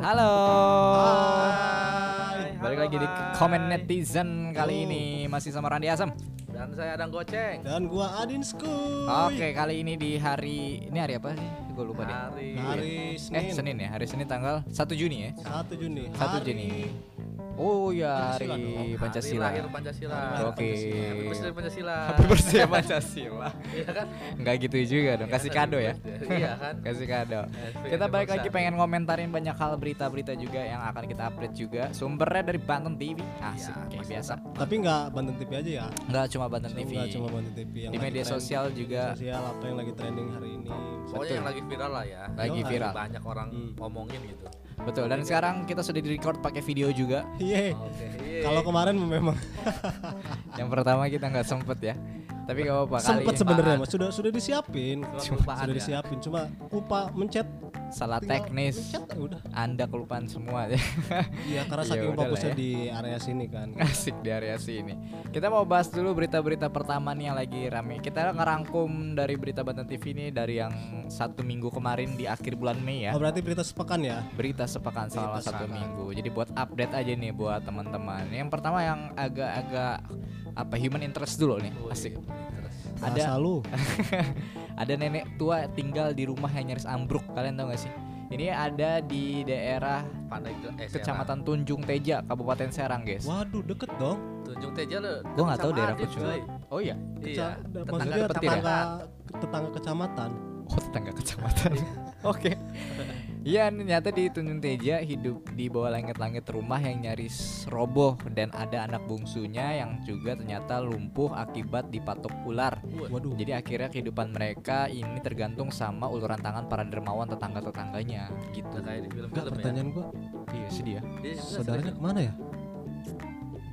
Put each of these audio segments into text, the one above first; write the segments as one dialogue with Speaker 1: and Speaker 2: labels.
Speaker 1: Halo.
Speaker 2: Hai.
Speaker 1: Balik
Speaker 2: Halo,
Speaker 1: lagi di
Speaker 2: hai.
Speaker 1: komen netizen kali ini masih sama Randi Asam.
Speaker 2: Dan saya Adang Goceng.
Speaker 3: Dan gua Adin Skuy.
Speaker 1: Oke, kali ini di hari ini hari apa sih? Gue lupa deh.
Speaker 2: Hari
Speaker 3: Hari
Speaker 1: Eh,
Speaker 3: Senin.
Speaker 1: Senin ya. Hari Senin tanggal 1 Juni ya.
Speaker 3: 1 Juni.
Speaker 1: 1 Juni. Oh ya
Speaker 3: Pancasila
Speaker 1: hari
Speaker 2: Hari
Speaker 1: Pancasila.
Speaker 2: lahir Pancasila.
Speaker 1: Oke.
Speaker 2: Happy birthday Pancasila.
Speaker 1: Happy birthday Pancasila.
Speaker 2: Iya kan?
Speaker 1: Enggak ya, gitu juga dong,
Speaker 2: Iya,
Speaker 1: kasih
Speaker 2: happy
Speaker 1: kado ya.
Speaker 2: birthday. Iya kan?
Speaker 1: Kasih kado.
Speaker 2: Happy
Speaker 1: Kita
Speaker 2: birthday,
Speaker 1: balik lagi
Speaker 2: Bangsa.
Speaker 1: pengen ngomentarin banyak hal berita-berita juga yang akan kita update juga. Sumbernya dari Banten TV. Asik
Speaker 2: Iya,
Speaker 1: kayak
Speaker 2: masih
Speaker 1: biasa.
Speaker 3: Tapi nggak Banten TV aja ya.
Speaker 1: Enggak cuma Banten TV.
Speaker 3: Enggak cuma Banten TV yang
Speaker 1: Di
Speaker 3: lagi
Speaker 1: media
Speaker 3: trend-
Speaker 1: sosial juga.
Speaker 3: Sosial apa yang lagi trending hari ini.
Speaker 2: Pokoknya yang lagi viral lah ya.
Speaker 1: Lagi
Speaker 2: Yang
Speaker 1: viral.
Speaker 2: Banyak orang
Speaker 3: Hmm.
Speaker 2: ngomongin gitu.
Speaker 1: Betul. Dan sekarang kita sudah di-record pakai video juga.
Speaker 3: Iya.
Speaker 2: Oke.
Speaker 3: Kalau kemarin memang
Speaker 1: Yang pertama kita nggak sempet ya. Tapi gak apa-apa kali
Speaker 3: sempet sebenarnya Mas. sudah sudah disiapin.
Speaker 2: kelupaan
Speaker 3: sudah
Speaker 2: ya.
Speaker 3: disiapin cuma lupa mencet
Speaker 1: salah
Speaker 3: tinggal
Speaker 1: Ah, teknis.
Speaker 3: Mencet ya udah.
Speaker 1: Anda kelupaan semua ya.
Speaker 3: Iya, karena
Speaker 1: Ya
Speaker 3: saking
Speaker 1: udahlah
Speaker 3: fokusnya
Speaker 1: ya.
Speaker 3: di area sini kan.
Speaker 1: Asik di area sini. Kita mau bahas dulu berita-berita pertama nih yang lagi rame. Kita ngerangkum dari berita Banten TV ini dari yang satu minggu kemarin di akhir bulan Mei ya.
Speaker 3: Oh, berarti berita sepekan ya.
Speaker 1: berita sepekan selama
Speaker 3: Berita
Speaker 1: satu
Speaker 3: sepekan.
Speaker 1: minggu. Jadi buat update aja nih buat teman-teman. Yang pertama yang agak-agak apa human interest dulu nih.
Speaker 2: Wih,
Speaker 1: Asik.
Speaker 2: terus.
Speaker 1: Ada
Speaker 3: Bahasa lu.
Speaker 1: ada nenek tua tinggal di rumah yang nyaris ambruk. Kalian tahu gak sih? Ini ada di daerah
Speaker 2: Pandai ke eh,
Speaker 1: Kecamatan Tunjung Teja, Kabupaten Serang, guys.
Speaker 3: Waduh, deket dong.
Speaker 2: Serang. Tunjung Teja lu.
Speaker 1: Gua nggak tahu
Speaker 2: sama
Speaker 1: daerah
Speaker 2: Adit,
Speaker 1: Tunjung.
Speaker 2: cuy.
Speaker 1: Oh iya,
Speaker 2: Iya.
Speaker 3: Keca- da-
Speaker 2: tetangga
Speaker 3: maksudnya
Speaker 1: petir ya?
Speaker 3: tetangga tetangga kecamatan.
Speaker 1: oh tetangga kecamatan. Oke. Iya, ternyata di Tunjung Teja hidup di bawah langit-langit rumah yang nyaris roboh dan ada anak bungsunya yang juga ternyata lumpuh akibat dipatok ular.
Speaker 3: Waduh.
Speaker 1: Jadi akhirnya kehidupan mereka ini tergantung sama uluran tangan para dermawan tetangga-tetangganya gitu.
Speaker 2: Udah kayak di
Speaker 3: Enggak
Speaker 2: film-film ya.
Speaker 3: pertanyaan gua,
Speaker 1: Iya sedih ya.
Speaker 2: Dia juga
Speaker 3: saudaranya
Speaker 2: sering-
Speaker 3: kemana ya?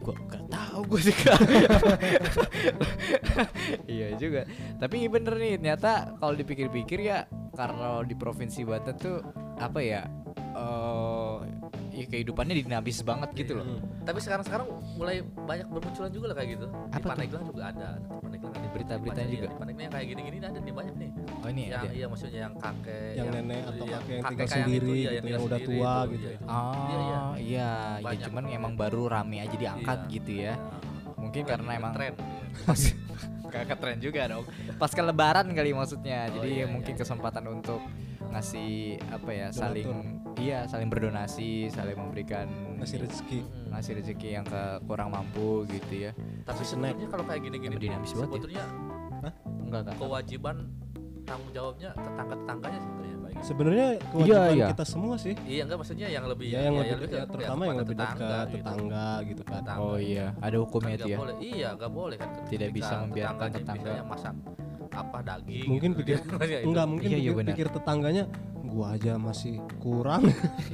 Speaker 1: Gua gak tahu gue sih. iya juga. Tapi bener nih ternyata kalau dipikir-pikir ya karena di provinsi Banten tuh apa ya? eh ya kehidupannya dinamis banget gitu loh.
Speaker 3: Hmm,
Speaker 2: Tapi sekarang-sekarang mulai banyak bermunculan juga lah kayak gitu. Di
Speaker 1: Apa tuh?
Speaker 2: Pandeglang juga ada. Di Pandeglang ada
Speaker 1: Berita-beritanya
Speaker 2: Di Pandeglang-
Speaker 1: juga?
Speaker 2: Di Pandeglang yang kayak gini-gini ada nih banyak nih.
Speaker 1: Oh ini
Speaker 2: yang
Speaker 1: ada.
Speaker 2: iya maksudnya yang kakek
Speaker 3: Yang nenek atau
Speaker 2: iya,
Speaker 3: kakek yang
Speaker 2: kakek
Speaker 3: tinggal
Speaker 2: kayak
Speaker 3: sendiri
Speaker 2: iya,
Speaker 3: gitu, yang udah
Speaker 2: sendiri
Speaker 3: tua
Speaker 2: itu,
Speaker 3: gitu
Speaker 2: iya,
Speaker 3: ya.
Speaker 2: itu. Iya, iya.
Speaker 1: Oh iya, ya
Speaker 2: Banyak.
Speaker 1: cuman emang baru rame aja diangkat
Speaker 2: Iya.
Speaker 1: gitu
Speaker 3: eh.
Speaker 1: ya. Mungkin
Speaker 2: Lagi
Speaker 1: karena emang
Speaker 2: ngetren.
Speaker 1: pas kakak tren juga dong pasca lebaran kali maksudnya
Speaker 2: Oh,
Speaker 1: jadi
Speaker 2: iya,
Speaker 1: mungkin
Speaker 2: iya, iya.
Speaker 1: kesempatan untuk ngasih apa ya
Speaker 3: Donatur.
Speaker 1: saling iya saling berdonasi saling memberikan
Speaker 3: Masih rezeki.
Speaker 2: Mm-mm.
Speaker 1: ngasih rezeki yang ke kurang mampu gitu ya
Speaker 2: tapi
Speaker 3: snack.
Speaker 2: sebenarnya kalau kayak gini-gini
Speaker 1: Emang dinamis banget ya.
Speaker 2: sebetulnya
Speaker 1: enggak enggak
Speaker 2: kewajiban tanggung jawabnya tetangga-tetangganya sebenarnya Pak.
Speaker 3: Sebenarnya kewajiban
Speaker 1: iya.
Speaker 3: kita semua sih.
Speaker 2: Iya enggak maksudnya yang lebih
Speaker 3: Ya, yang
Speaker 2: iya,
Speaker 3: lebih
Speaker 2: ke-
Speaker 3: ya, terutama
Speaker 2: kepada
Speaker 3: yang lebih dekat tetangga,
Speaker 2: gitu.
Speaker 3: gitu kan.
Speaker 2: Tetangga.
Speaker 1: oh iya ada
Speaker 2: Kan
Speaker 1: hukumnya
Speaker 2: nggak
Speaker 1: itu ya
Speaker 2: boleh. Iya, enggak boleh kan.
Speaker 1: Tidak bisa
Speaker 2: ketika
Speaker 1: membiarkan
Speaker 2: tetangganya
Speaker 1: tetangga.
Speaker 2: misalnya masak apa daging.
Speaker 3: Mungkin
Speaker 2: gitu.
Speaker 3: pikir-
Speaker 2: Iya, itu.
Speaker 3: Enggak mungkin
Speaker 1: Iya, iya,
Speaker 3: pikir,
Speaker 1: benar.
Speaker 3: pikir tetangganya gua aja masih kurang.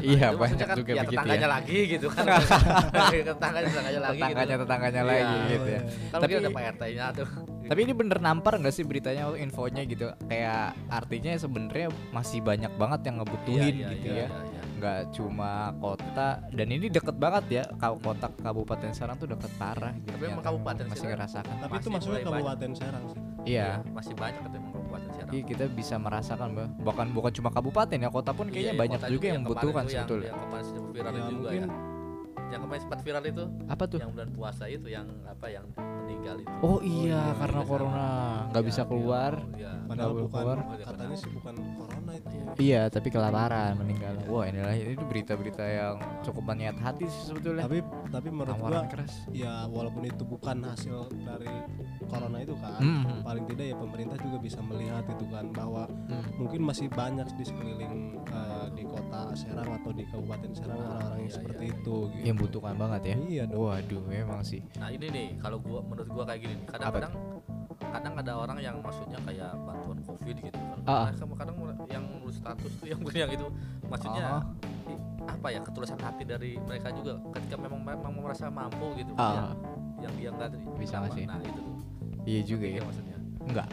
Speaker 1: iya banyak
Speaker 2: Itu maksudnya kan,
Speaker 1: juga
Speaker 2: ya,
Speaker 1: begitu
Speaker 2: tetangganya
Speaker 1: ya
Speaker 2: lagi gitu kan. tetangganya tetangganya lagi. gitu.
Speaker 1: tetangganya tetangganya
Speaker 2: Iya.
Speaker 1: lagi gitu ya
Speaker 2: Kan
Speaker 1: Tapi-
Speaker 2: tapi ada Pak RT-nya tuh. Iya,
Speaker 1: tapi ini bener nampar nggak sih beritanya infonya gitu kayak artinya sebenarnya masih banyak banget yang
Speaker 2: Iya,
Speaker 1: ngebutuhin gitu ya nggak cuma kota dan ini deket banget ya kalau kota kabupaten Serang tuh deket parah gitu
Speaker 2: Tapi
Speaker 1: ya,
Speaker 2: emang
Speaker 1: kan,
Speaker 2: kabupaten Iya.
Speaker 1: masih
Speaker 2: Serang.
Speaker 1: ngerasakan
Speaker 3: Tapi itu
Speaker 2: Masih
Speaker 3: maksudnya
Speaker 2: mulai banyak.
Speaker 3: kabupaten Serang sih.
Speaker 1: iya
Speaker 2: masih banyak kan emang kabupaten Serang.
Speaker 1: jadi kita bisa merasakan bah- bahkan bukan cuma kabupaten ya kota pun
Speaker 2: Iya,
Speaker 1: kayaknya
Speaker 2: iya,
Speaker 1: banyak
Speaker 2: kota
Speaker 1: juga yang
Speaker 2: kemarin
Speaker 1: membutuhkan
Speaker 2: tuh yang-
Speaker 1: sebetulnya
Speaker 2: Yang kemarin sempat viral
Speaker 3: Ya,
Speaker 2: juga
Speaker 3: mungkin
Speaker 2: ya. Yang kemarin sempat viral itu
Speaker 1: apa tuh
Speaker 2: yang bulan puasa itu yang apa yang meninggal itu.
Speaker 1: oh iya
Speaker 3: iya,
Speaker 1: karena
Speaker 2: iya,
Speaker 1: corona nggak
Speaker 2: Iya,
Speaker 1: bisa
Speaker 2: iya,
Speaker 1: keluar
Speaker 2: Iya.
Speaker 3: padahal
Speaker 1: boleh
Speaker 3: bukan
Speaker 1: keluar.
Speaker 3: katanya sih bukan corona itu.
Speaker 2: Iya.
Speaker 1: iya tapi kelaparan meninggal wah inilah ini tuh berita-berita yang cukup menyayat hati sih sebetulnya
Speaker 3: Tapi tapi menurut gua
Speaker 1: tawaran keras
Speaker 3: ya walaupun itu bukan hasil dari corona itu kan
Speaker 1: Mm.
Speaker 3: paling tidak ya pemerintah juga bisa melihat itu kan bahwa
Speaker 1: Hmm.
Speaker 3: mungkin masih banyak di sekeliling eh, di kota Serang atau di kabupaten Serang orang-orang yang
Speaker 2: Iya,
Speaker 3: seperti
Speaker 2: iya,
Speaker 3: itu gitu.
Speaker 1: yang butuhkan banget ya
Speaker 3: Iya dong.
Speaker 1: waduh memang sih
Speaker 2: Nah, ini nih kalau gua menurut gua kayak gini nih. Kadang-kadang kadang ada orang yang maksudnya kayak bantuan covid gitu kan.
Speaker 1: Ah.
Speaker 2: Kadang- kadang yang ngurus status tuh yang yang itu maksudnya
Speaker 1: Ah.
Speaker 2: i- apa ya ketulusan hati dari mereka juga ketika memang memang merasa mampu gitu
Speaker 1: Ah.
Speaker 2: ya, yang dia enggak
Speaker 1: Bisa nggak sih?
Speaker 2: nah itu tuh
Speaker 1: iya juga ya
Speaker 2: Iya, maksudnya
Speaker 1: enggak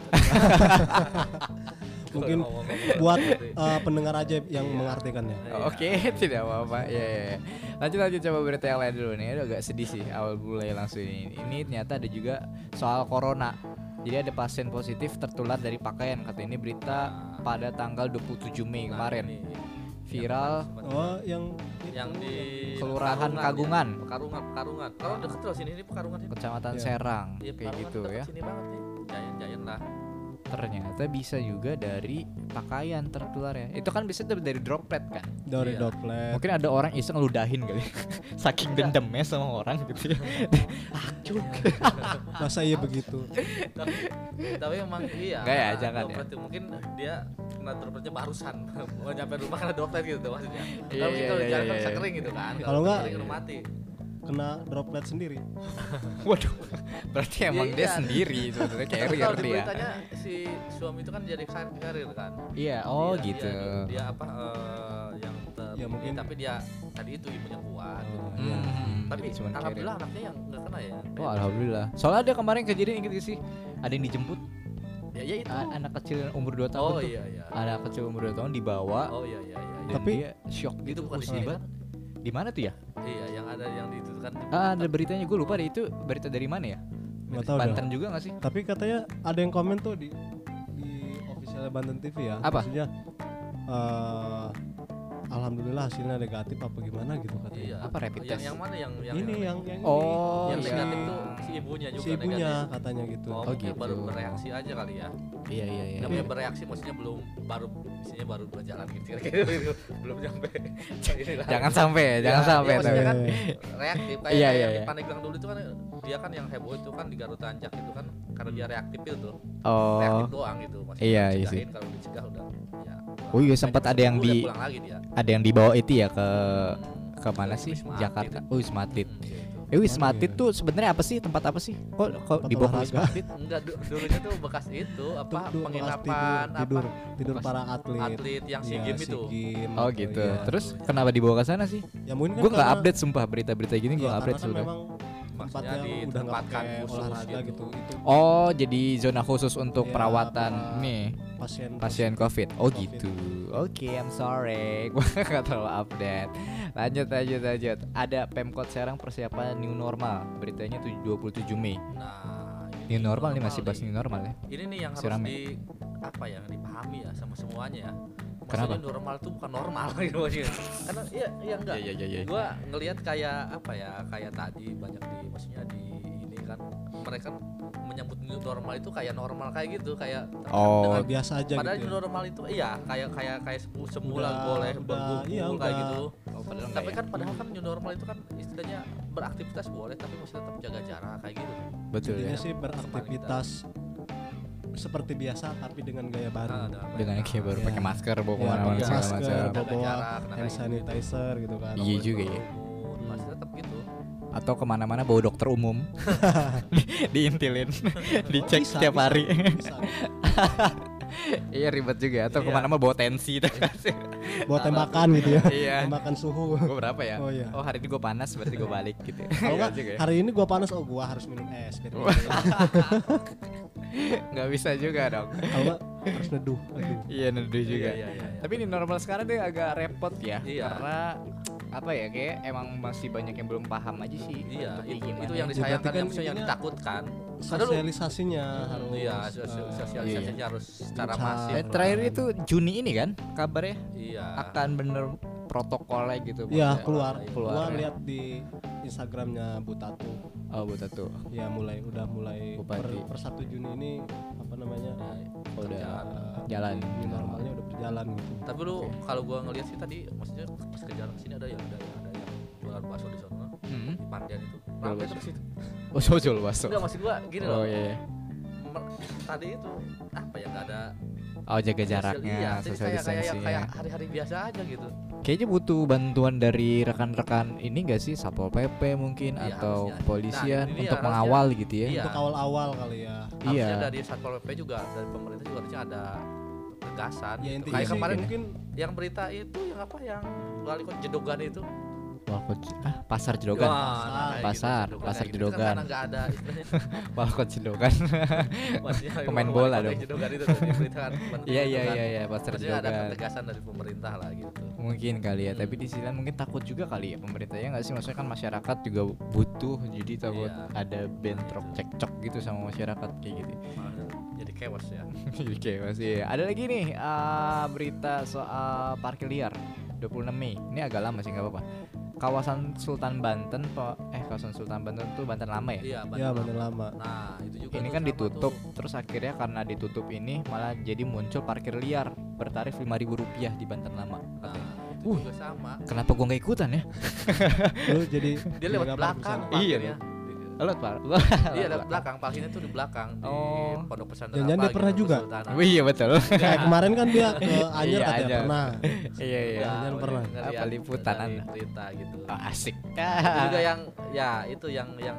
Speaker 3: Mungkin
Speaker 2: Kalau ngomong-ngomong
Speaker 3: buat
Speaker 2: gitu ya.
Speaker 3: eh, pendengar aja yang ya.
Speaker 2: Iya.
Speaker 3: mengartikannya.
Speaker 2: Iya.
Speaker 1: Oke, tidak apa-apa. Ya, ya, ya. Lanjut lanjut coba berita yang lain dulu nih. Aduh agak sedih sih awal mulai langsung ini. Ini ternyata ada juga soal corona. Jadi ada pasien positif tertular dari pakaian. Kata ini berita pada tanggal 27 Mei
Speaker 2: Nah,
Speaker 3: Iya.
Speaker 1: kemarin.
Speaker 2: ini.
Speaker 1: Viral.
Speaker 2: kemarin sempat-
Speaker 3: Oh, yang
Speaker 2: yang di
Speaker 1: Kelurahan
Speaker 2: Pekarungan,
Speaker 1: Kagungan.
Speaker 2: ya. Pekarungan, Pekarungan. Kalau deket loh sini ini Pekarungan ini.
Speaker 1: Kecamatan
Speaker 3: Iya.
Speaker 1: Serang
Speaker 2: Iya,
Speaker 1: kayak
Speaker 2: Pekarungan
Speaker 1: gitu
Speaker 2: deket
Speaker 1: ya.
Speaker 2: Sini banget nih. Jayan jayan lah.
Speaker 1: Ternyata bisa juga dari pakaian tertular ya. Itu kan bisa dari droplet kan.
Speaker 3: dari
Speaker 2: Iya.
Speaker 3: droplet.
Speaker 1: Mungkin ada orang iseng ludahin kali. ya. Saking dendamnya sama orang gitu ya.
Speaker 3: Masa iya begitu?
Speaker 2: tapi, tapi emang iya.
Speaker 1: Enggak ya,
Speaker 2: karena
Speaker 1: jangan ya.
Speaker 2: droplet itu Mungkin dia kena dropletnya barusan. Mau nyampe rumah kena droplet gitu maksudnya.
Speaker 1: Iya,
Speaker 2: Tapi
Speaker 1: iya,
Speaker 2: kalau
Speaker 1: iya,
Speaker 2: jalan kan
Speaker 1: iya,
Speaker 2: bisa
Speaker 1: iya.
Speaker 2: kering gitu kan.
Speaker 3: Kalau enggak-
Speaker 2: kering udah mati.
Speaker 3: Kena droplet sendiri.
Speaker 1: Waduh. Berarti emang
Speaker 2: Iya,
Speaker 1: dia
Speaker 2: iya.
Speaker 1: sendiri sebenarnya
Speaker 2: Tapi
Speaker 1: carrier
Speaker 2: kalau di
Speaker 1: dia.
Speaker 2: beritanya si suami itu kan jadi kar- karir kan.
Speaker 1: Iya, oh
Speaker 2: Dia-
Speaker 1: gitu.
Speaker 2: Dia, dia apa eh, yang ter
Speaker 3: Ya, mungkin-
Speaker 2: tapi dia tadi itu ibunya kuat. gitu.
Speaker 3: Oh, iya.
Speaker 1: Hmm,
Speaker 2: Tapi
Speaker 1: jadi cuman carrier.
Speaker 2: alhamdulillah anaknya yang enggak kena ya.
Speaker 1: Oh alhamdulillah. Soalnya ada kemarin kejadian inget gak sih? Ada yang dijemput
Speaker 2: Ya ya itu.
Speaker 1: a- anak kecil yang umur 2 tahun. Ah,
Speaker 2: Oh
Speaker 1: tuh.
Speaker 2: iya iya.
Speaker 1: Anak kecil umur 2 tahun dibawa.
Speaker 2: Oh iya iya iya.
Speaker 1: Dan
Speaker 3: Tapi-
Speaker 1: dia shock
Speaker 2: Itu
Speaker 1: gitu
Speaker 2: bukan di sini
Speaker 1: musibah.
Speaker 2: kan?
Speaker 1: Di mana tuh ya?
Speaker 2: Iya, yang ada yang di itu kan.
Speaker 1: Ah, ada beritanya gue lupa deh itu berita dari mana ya?
Speaker 3: Nggak tahu
Speaker 1: Banten juga gak sih?
Speaker 3: Tapi katanya ada yang komen tuh di di officialnya Banten TV ya.
Speaker 1: Apa?
Speaker 3: Maksudnya eh, alhamdulillah hasilnya negatif apa gimana gitu katanya.
Speaker 2: Iya.
Speaker 1: Apa rapid
Speaker 2: yang,
Speaker 1: test?
Speaker 2: yang mana yang yang
Speaker 3: Ini
Speaker 2: yang,
Speaker 3: yang yang
Speaker 1: Oh,
Speaker 2: yang
Speaker 1: iya.
Speaker 2: negatif tuh si ibunya
Speaker 3: ini.
Speaker 2: juga
Speaker 3: si ibunya
Speaker 2: negatif.
Speaker 3: katanya gitu.
Speaker 2: Oh,
Speaker 1: Oh,
Speaker 2: mungkin
Speaker 1: gitu.
Speaker 2: baru bereaksi aja kali ya.
Speaker 1: Iya iya iya.
Speaker 2: Namanya bereaksi maksudnya belum baru isinya baru berjalan gitu. Kira-kira belum nyampe. Inilah.
Speaker 1: Jangan sampai,
Speaker 2: Ya,
Speaker 1: jangan sampai.
Speaker 2: iya,
Speaker 1: tapi.
Speaker 2: maksudnya kan reaktif kayak
Speaker 1: Iya,
Speaker 2: kayak
Speaker 1: iya,
Speaker 2: yang di
Speaker 1: iya.
Speaker 2: Pandeglang dulu itu kan dia kan yang heboh itu kan di Garut Anjak itu kan karena dia reaktif itu
Speaker 1: Oh,
Speaker 2: reaktif doang gitu maksudnya
Speaker 1: Iya, iya
Speaker 2: dicegahin, kalau dicegah udah ya
Speaker 1: Oh iya,
Speaker 2: Kayak
Speaker 1: sempat
Speaker 2: jam
Speaker 1: ada yang
Speaker 2: 10 udah
Speaker 1: di-
Speaker 2: pulang lagi dia
Speaker 1: ada yang dibawa itu ya ke ke mana
Speaker 2: Ke
Speaker 1: sih?
Speaker 2: Wisma Atlet.
Speaker 1: Jakarta. Oh, Wisma Atlet.
Speaker 2: Hmm, gitu.
Speaker 1: Eh, Wisma
Speaker 3: Mana
Speaker 1: Atlet
Speaker 3: ya?
Speaker 1: tuh sebenarnya apa sih? Tempat apa sih? Kok kok
Speaker 3: Tempat
Speaker 1: di bawah
Speaker 3: olahraga.
Speaker 1: Wisma Atlet?
Speaker 2: Enggak du- dulunya tuh bekas
Speaker 3: Tuh,
Speaker 2: itu apa
Speaker 3: tuh, bekas
Speaker 2: kan, penginapan
Speaker 3: tidur, tidur,
Speaker 2: apa
Speaker 3: tidur
Speaker 2: bekas
Speaker 3: para atlet.
Speaker 2: atlet yang si
Speaker 3: Iya,
Speaker 2: game
Speaker 3: SEA
Speaker 2: itu.
Speaker 3: Games
Speaker 1: Oh
Speaker 3: atau
Speaker 1: gitu.
Speaker 3: iya.
Speaker 1: Terus kenapa dibawa ke sana sih?
Speaker 3: Ya mungkin kan
Speaker 1: Gue nggak
Speaker 3: karena-
Speaker 1: update sumpah berita-berita gini gue
Speaker 3: Iya,
Speaker 1: nggak
Speaker 3: karena
Speaker 1: update
Speaker 3: kan
Speaker 1: sudah.
Speaker 3: memang tempatnya
Speaker 2: Maksudnya
Speaker 3: udah nggak
Speaker 2: ditempatkan
Speaker 3: pakai
Speaker 2: khusus
Speaker 3: olahraga gitu.
Speaker 2: gitu.
Speaker 3: Itu
Speaker 1: Oh, jadi zona khusus untuk
Speaker 3: Iya,
Speaker 1: perawatan
Speaker 3: para
Speaker 1: nih
Speaker 3: pasien
Speaker 1: pasien COVID. Oh
Speaker 3: COVID.
Speaker 1: gitu. Oke, I'm sorry. Gue nggak terlalu update. Lanjut, lanjut, lanjut. Ada Pemkot Serang persiapan new normal. Beritanya tuh 27 Mei.
Speaker 2: Nah, ini
Speaker 1: New normal nih masih bahas new normal ya.
Speaker 2: Ini nih yang
Speaker 1: Masih rame.
Speaker 2: harus di apa ya, dipahami ya sama semuanya ya.
Speaker 1: Kenapa?
Speaker 2: Maksudnya normal tuh bukan normal gitu maksudnya. Karena iya iya enggak.
Speaker 1: Iya, iya, iya, iya.
Speaker 2: Gua ngelihat kayak apa ya, kayak tadi banyak di maksudnya di ini kan mereka menyebut new normal itu kayak normal kayak gitu, kayak
Speaker 1: Oh,
Speaker 2: dengan-
Speaker 3: biasa aja
Speaker 2: Padahal
Speaker 3: gitu.
Speaker 2: new normal itu iya kayak kayak kayak semu- semula
Speaker 3: Udah-
Speaker 2: boleh
Speaker 3: udah-
Speaker 2: berkumpul
Speaker 3: iya,
Speaker 2: kayak
Speaker 3: udah.
Speaker 2: gitu.
Speaker 1: Oh, padahal nggak
Speaker 2: Tapi
Speaker 1: ya?
Speaker 2: kan padahal kan new normal itu kan istilahnya beraktivitas boleh tapi masih tetap jaga jarak kayak gitu.
Speaker 1: betul ya.
Speaker 3: Intinya sih beraktivitas seperti biasa tapi dengan gaya
Speaker 2: Ah,
Speaker 3: baru.
Speaker 2: ada apa
Speaker 1: Dengan
Speaker 2: ya?
Speaker 1: kayak baru
Speaker 3: Iya.
Speaker 1: pakai masker bawa
Speaker 3: Iya,
Speaker 1: kemana-mana
Speaker 3: pakai
Speaker 1: segala
Speaker 3: masker,
Speaker 1: macam.
Speaker 3: bawa- bawa
Speaker 2: jarak, nah,
Speaker 3: hand
Speaker 2: kayak
Speaker 3: sanitizer gitu kan.
Speaker 1: Iya juga ya.
Speaker 2: berkerumun, masih tetap gitu.
Speaker 1: Atau kemana-mana bawa dokter umum. Di- Diintilin, dicek
Speaker 3: Bisa,
Speaker 1: setiap
Speaker 3: bisa,
Speaker 1: hari.
Speaker 3: bisa.
Speaker 1: Iya ribet juga. Atau
Speaker 2: Iya.
Speaker 1: kemana-mana bawa tensi. tuh kan sih.
Speaker 3: Buat tembakan gitu ya.
Speaker 1: Iya.
Speaker 3: Tembakan suhu.
Speaker 1: Gue berapa ya?
Speaker 3: Oh, iya.
Speaker 1: Oh hari ini gue panas berarti gue balik gitu. Iya
Speaker 3: Kalau nggak,
Speaker 1: juga ya.
Speaker 3: hari ini gua panas oh gua harus minum es biar
Speaker 1: Wah.
Speaker 3: gitu.
Speaker 1: nggak bisa juga dong.
Speaker 3: Kalau nggak, harus neduh. Aduh.
Speaker 1: Iya neduh juga.
Speaker 2: Iya, iya, iya.
Speaker 1: Tapi ini normal sekarang dia agak repot ya,
Speaker 2: Iya.
Speaker 1: karena apa ya kayak emang masih banyak yang belum paham aja sih.
Speaker 2: Iya,
Speaker 1: untuk
Speaker 2: itu,
Speaker 1: gimana.
Speaker 2: itu yang
Speaker 3: Ya, berarti
Speaker 2: disayangkan,
Speaker 3: kan
Speaker 2: yang, maksudnya yang
Speaker 3: intinya-
Speaker 2: ditakutkan. Padahal lu-
Speaker 3: Sosialisasinya
Speaker 1: Hmm,
Speaker 3: harus. iya.
Speaker 2: Iya,
Speaker 3: eh,
Speaker 2: sosialisasinya harus secara
Speaker 3: Bisa.
Speaker 2: masif.
Speaker 1: Eh,
Speaker 2: lah.
Speaker 1: terakhir itu Juni ini kan kabarnya
Speaker 2: iya.
Speaker 1: akan bener protokolnya gitu.
Speaker 3: Iya
Speaker 1: maksudnya.
Speaker 3: keluar,
Speaker 1: Keluar,
Speaker 3: keluar
Speaker 1: ya.
Speaker 3: lihat di Instagramnya Butatu.
Speaker 1: Oh buta tuh.
Speaker 3: Ya mulai udah mulai per,
Speaker 1: Bupati.
Speaker 3: per 1 Juni ini apa namanya?
Speaker 2: Iya,
Speaker 1: Udah
Speaker 3: eh,
Speaker 1: jalan.
Speaker 3: new normalnya udah berjalan gitu.
Speaker 2: Tapi lu kalau gua ngelihat sih tadi maksudnya pas ke jalan sini ada yang ada yang ada yang jualan bakso di sana
Speaker 1: Hmm.
Speaker 2: di Pandian itu.
Speaker 1: Jual
Speaker 2: Ramai
Speaker 1: bakso.
Speaker 2: terus itu.
Speaker 1: Oh sojol baso.
Speaker 2: Enggak maksud gua gini
Speaker 1: Oh
Speaker 2: loh.
Speaker 1: iya. iya.
Speaker 2: mer- Tadi itu apa ya enggak ada
Speaker 1: Oh jaga
Speaker 2: social- Iya,
Speaker 1: jaraknya,
Speaker 2: jadi
Speaker 1: social
Speaker 2: kayak kayak
Speaker 1: distancing.
Speaker 2: kayak hari-hari biasa aja gitu.
Speaker 1: Kayaknya butuh bantuan dari rekan-rekan ini gak sih Satpol PP mungkin
Speaker 2: Iya,
Speaker 1: atau
Speaker 2: harusnya.
Speaker 1: kepolisian
Speaker 2: Nah, ini dia,
Speaker 1: untuk
Speaker 2: harusnya.
Speaker 1: mengawal gitu ya.
Speaker 2: Iya.
Speaker 3: Untuk awal-awal kali ya.
Speaker 2: Harusnya
Speaker 1: Iya.
Speaker 2: dari Satpol PP juga dari pemerintah juga harusnya ada tegasan.
Speaker 3: Ya
Speaker 2: gitu.
Speaker 3: intinya
Speaker 2: Kayak
Speaker 3: sih
Speaker 2: kemarin
Speaker 3: mungkin
Speaker 2: yang berita itu yang apa yang wali kota Jedogan itu
Speaker 1: Walkot ah, pasar Jerogan.
Speaker 2: Wah, nah, kayak gitu,
Speaker 1: Pasar,
Speaker 2: Jedogan,
Speaker 1: pasar
Speaker 2: kayak gitu. Kan
Speaker 1: Jedogan.
Speaker 2: karena nggak ada istilahnya
Speaker 1: Walkot Jerogan.
Speaker 2: maksudnya
Speaker 1: Pemain
Speaker 2: wali
Speaker 1: bola
Speaker 2: kota
Speaker 1: dong.
Speaker 2: Jedogan itu tuh, di berita kan, pemain
Speaker 1: Iya iya
Speaker 2: Jedogan.
Speaker 1: iya iya pasar
Speaker 2: Maksudnya ada
Speaker 1: Jerogan.
Speaker 2: ketegasan dari pemerintah lah gitu
Speaker 1: Mungkin kali ya,
Speaker 2: Hmm.
Speaker 1: tapi di sisi lain mungkin takut juga kali ya pemerintahnya nggak sih maksudnya kan masyarakat juga butuh jadi takut
Speaker 2: Iya.
Speaker 1: ada bentrok
Speaker 2: Gitu.
Speaker 1: cekcok gitu sama masyarakat kayak gitu.
Speaker 2: Malah jadi chaos ya
Speaker 1: Oke, masih ada lagi nih ah, berita soal parkir liar. 26 Mei. Ini agak lama sih nggak apa-apa. Kawasan Sultan Banten po- eh kawasan Sultan Banten tuh Banten lama ya.
Speaker 2: Iya,
Speaker 3: ya
Speaker 2: Bandung
Speaker 3: bandel
Speaker 2: Lama.
Speaker 3: lama
Speaker 2: Nah, itu
Speaker 1: Ini
Speaker 2: juga tuh Nah,
Speaker 1: kan
Speaker 2: sama
Speaker 1: ditutup,
Speaker 2: tuh.
Speaker 1: terus akhirnya karena ditutup ini malah jadi muncul parkir liar bertarif 5.000 rupiah di Banten lama.
Speaker 2: Nah,
Speaker 1: katanya.
Speaker 2: itu
Speaker 1: Uh.
Speaker 2: juga sama.
Speaker 1: Kenapa gua nggak ikutan ya?
Speaker 3: lu jadi
Speaker 2: Dia lewat
Speaker 3: digambar
Speaker 2: belakang
Speaker 3: di sana.
Speaker 1: Iya,
Speaker 2: parkirnya.
Speaker 1: Lo pak?
Speaker 2: Dia lewat belakang, parkirnya tuh di belakang
Speaker 1: Oh.
Speaker 2: di Pondok Pesantren.
Speaker 3: Jangan-jangan
Speaker 2: apa
Speaker 3: dia pernah
Speaker 2: gitu,
Speaker 3: juga.
Speaker 2: Kesultanan.
Speaker 1: Iya betul.
Speaker 2: Ya.
Speaker 3: kayak kemarin kan dia ke Anyer
Speaker 1: Iya,
Speaker 3: katanya
Speaker 1: Anyer.
Speaker 3: pernah
Speaker 1: Iya iya.
Speaker 2: Ya,
Speaker 3: Jangan
Speaker 2: udah
Speaker 3: pernah.
Speaker 2: dengar
Speaker 1: Apa,
Speaker 2: dari-
Speaker 1: liputan
Speaker 2: dari
Speaker 1: Anda?
Speaker 2: berita gitu.
Speaker 1: Ah, asik.
Speaker 2: Itu juga yang ya itu yang yang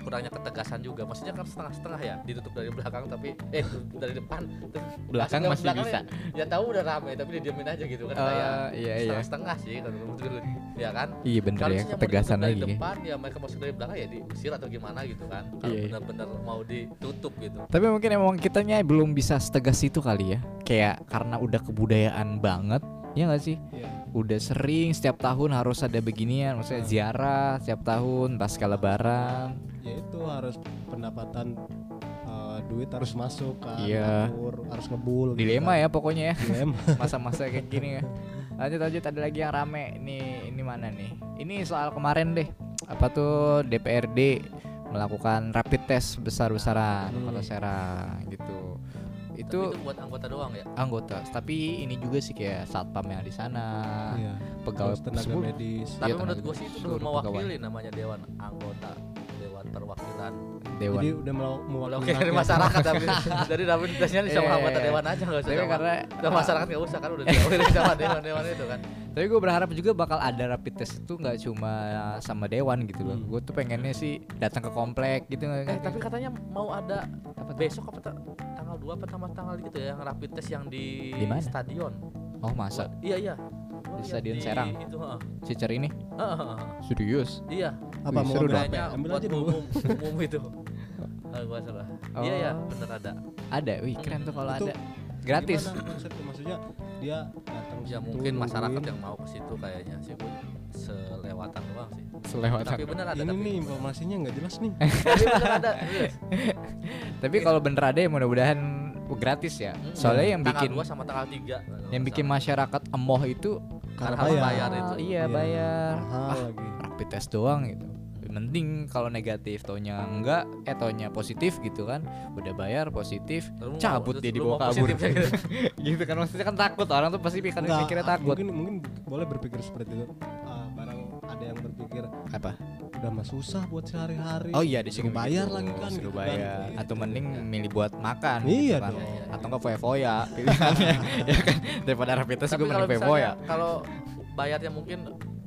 Speaker 2: kurangnya ketegasan juga. Maksudnya kan setengah-setengah ya, ditutup dari belakang tapi eh dari depan terus
Speaker 1: Belakang
Speaker 2: masuk ke
Speaker 1: masih
Speaker 2: belakangnya. Ya tahu udah rame tapi didiamin aja gitu kan kayak
Speaker 1: Eh, iya iya.
Speaker 2: setengah-setengah sih kalau menurut gue. Ya kan?
Speaker 1: Iya bener
Speaker 2: Kalau
Speaker 1: ya,
Speaker 2: misalnya mau
Speaker 1: ketegasan
Speaker 2: ditutup dari
Speaker 1: lagi. ya.
Speaker 2: depan ya mereka masuk dari belakang ya diusir atau gimana gitu kan. Kalau
Speaker 1: Iya, iya.
Speaker 2: benar-benar mau ditutup gitu.
Speaker 1: Tapi mungkin emang kitanya belum bisa setegas itu kali ya. Kayak karena udah kebudayaan banget, ya nggak sih?
Speaker 3: Iya.
Speaker 1: Udah sering setiap tahun harus ada beginian, maksudnya
Speaker 3: Hmm.
Speaker 1: ziarah setiap tahun pasca lebaran.
Speaker 3: ya itu harus pendapatan eh, duit harus masuk kan
Speaker 1: Iya.
Speaker 3: ngatur, harus ngebul gitu
Speaker 1: Dilema
Speaker 3: kan.
Speaker 1: ya pokoknya ya
Speaker 3: dilema
Speaker 1: masa-masa kayak gini ya. Lanjut lanjut ada lagi yang rame nih. Ini mana nih? Ini soal kemarin deh. Apa tuh DPRD melakukan rapid test besar-besaran
Speaker 3: Hmm.
Speaker 1: kalau Serang gitu.
Speaker 2: Tapi
Speaker 1: Itu
Speaker 2: itu buat anggota doang ya.
Speaker 1: anggota tapi ini juga sih kayak satpam yang di sana
Speaker 3: Iya.
Speaker 1: pegawai
Speaker 3: Terus tenaga
Speaker 1: sebelum-
Speaker 3: medis
Speaker 1: Iya,
Speaker 2: Tapi menurut
Speaker 1: tenaga
Speaker 2: gue sih
Speaker 1: medis,
Speaker 2: itu
Speaker 1: seluruh
Speaker 2: belum mewakili namanya dewan anggota dewan perwakilan
Speaker 1: dewan
Speaker 3: jadi udah melau-
Speaker 2: Belum
Speaker 3: mewakili
Speaker 2: dari
Speaker 3: rakyat.
Speaker 2: masyarakat tapi dari rapid testnya nih sama
Speaker 1: Iya, iya,
Speaker 2: anggota
Speaker 1: iya.
Speaker 2: dewan aja nggak usah
Speaker 1: tapi
Speaker 2: sama-
Speaker 1: karena
Speaker 2: sama masyarakat nggak usah kan udah diwakili sama dewan-dewan itu kan
Speaker 1: tapi gue berharap juga bakal ada rapid test itu nggak cuma sama dewan gitu loh
Speaker 3: Hmm.
Speaker 1: gue tuh pengennya sih datang ke komplek gitu
Speaker 2: eh tapi katanya mau ada
Speaker 1: Apa tuh?
Speaker 2: besok apa ta- tanggal 2 apa tanggal tanggal gitu ya yang rapid test yang di,
Speaker 1: Di mana?
Speaker 2: stadion
Speaker 1: oh masa
Speaker 2: Buat- iya iya Gua
Speaker 1: Di
Speaker 2: lihat
Speaker 1: Stadion Serang?
Speaker 2: itu, heeh.
Speaker 1: cicer ini
Speaker 2: Heeh, heeh, heeh.
Speaker 1: serius
Speaker 2: iya
Speaker 3: apa
Speaker 1: Wih,
Speaker 3: mau
Speaker 1: seru
Speaker 3: ngambil
Speaker 1: dong.
Speaker 3: apa ya?
Speaker 2: kayaknya
Speaker 3: ambil
Speaker 2: buat
Speaker 3: aja dulu
Speaker 2: umum umum itu kalau gua salah iya iya
Speaker 1: Oh.
Speaker 2: bener ada
Speaker 1: ada wih keren tuh kalau
Speaker 3: Itu
Speaker 1: ada gratis
Speaker 3: Gimana konsepnya? maksudnya dia datang
Speaker 2: ya
Speaker 3: situ,
Speaker 2: mungkin masyarakat
Speaker 3: nungguin.
Speaker 2: yang mau ke situ kayaknya sih gua selewatan doang sih
Speaker 1: selewatan
Speaker 2: tapi bener ada
Speaker 3: ini
Speaker 2: tapi
Speaker 3: nih informasinya nggak jelas nih
Speaker 2: tapi bener ada serius.
Speaker 1: tapi kalau bener ada ya mudah-mudahan gratis ya
Speaker 2: Mm,
Speaker 1: soalnya yang bikin
Speaker 2: tanggal 2 sama tanggal 3
Speaker 1: yang bikin masyarakat emoh itu
Speaker 3: karena
Speaker 2: Harus
Speaker 3: bayar,
Speaker 2: bayar itu.
Speaker 1: iya
Speaker 3: Iya.
Speaker 1: bayar
Speaker 3: mahal lagi
Speaker 1: rapid test doang gitu mending kalau negatif taunya enggak eh taunya positif gitu kan udah bayar positif cabut dia dibawa kabur gitu kan maksudnya kan takut orang tuh pasti pikir
Speaker 3: Nggak,
Speaker 1: Kan mikirnya
Speaker 3: ah,
Speaker 1: takut
Speaker 3: mungkin mungkin boleh berpikir seperti itu Ah, barang ada yang berpikir
Speaker 1: apa
Speaker 3: udah mah susah buat sehari-hari
Speaker 1: oh iya di
Speaker 3: Suruh bayar lagi kan
Speaker 1: suruh
Speaker 3: gitu kan.
Speaker 1: bayar
Speaker 3: Gitu.
Speaker 1: atau mending milih buat makan
Speaker 3: Iya
Speaker 1: kan.
Speaker 3: dong.
Speaker 1: atau enggak foya foya pilihannya ya kan daripada rapid test
Speaker 2: Tapi
Speaker 1: gue
Speaker 2: kalau
Speaker 1: mending foya
Speaker 2: misalnya
Speaker 1: foya
Speaker 2: kalau bayarnya mungkin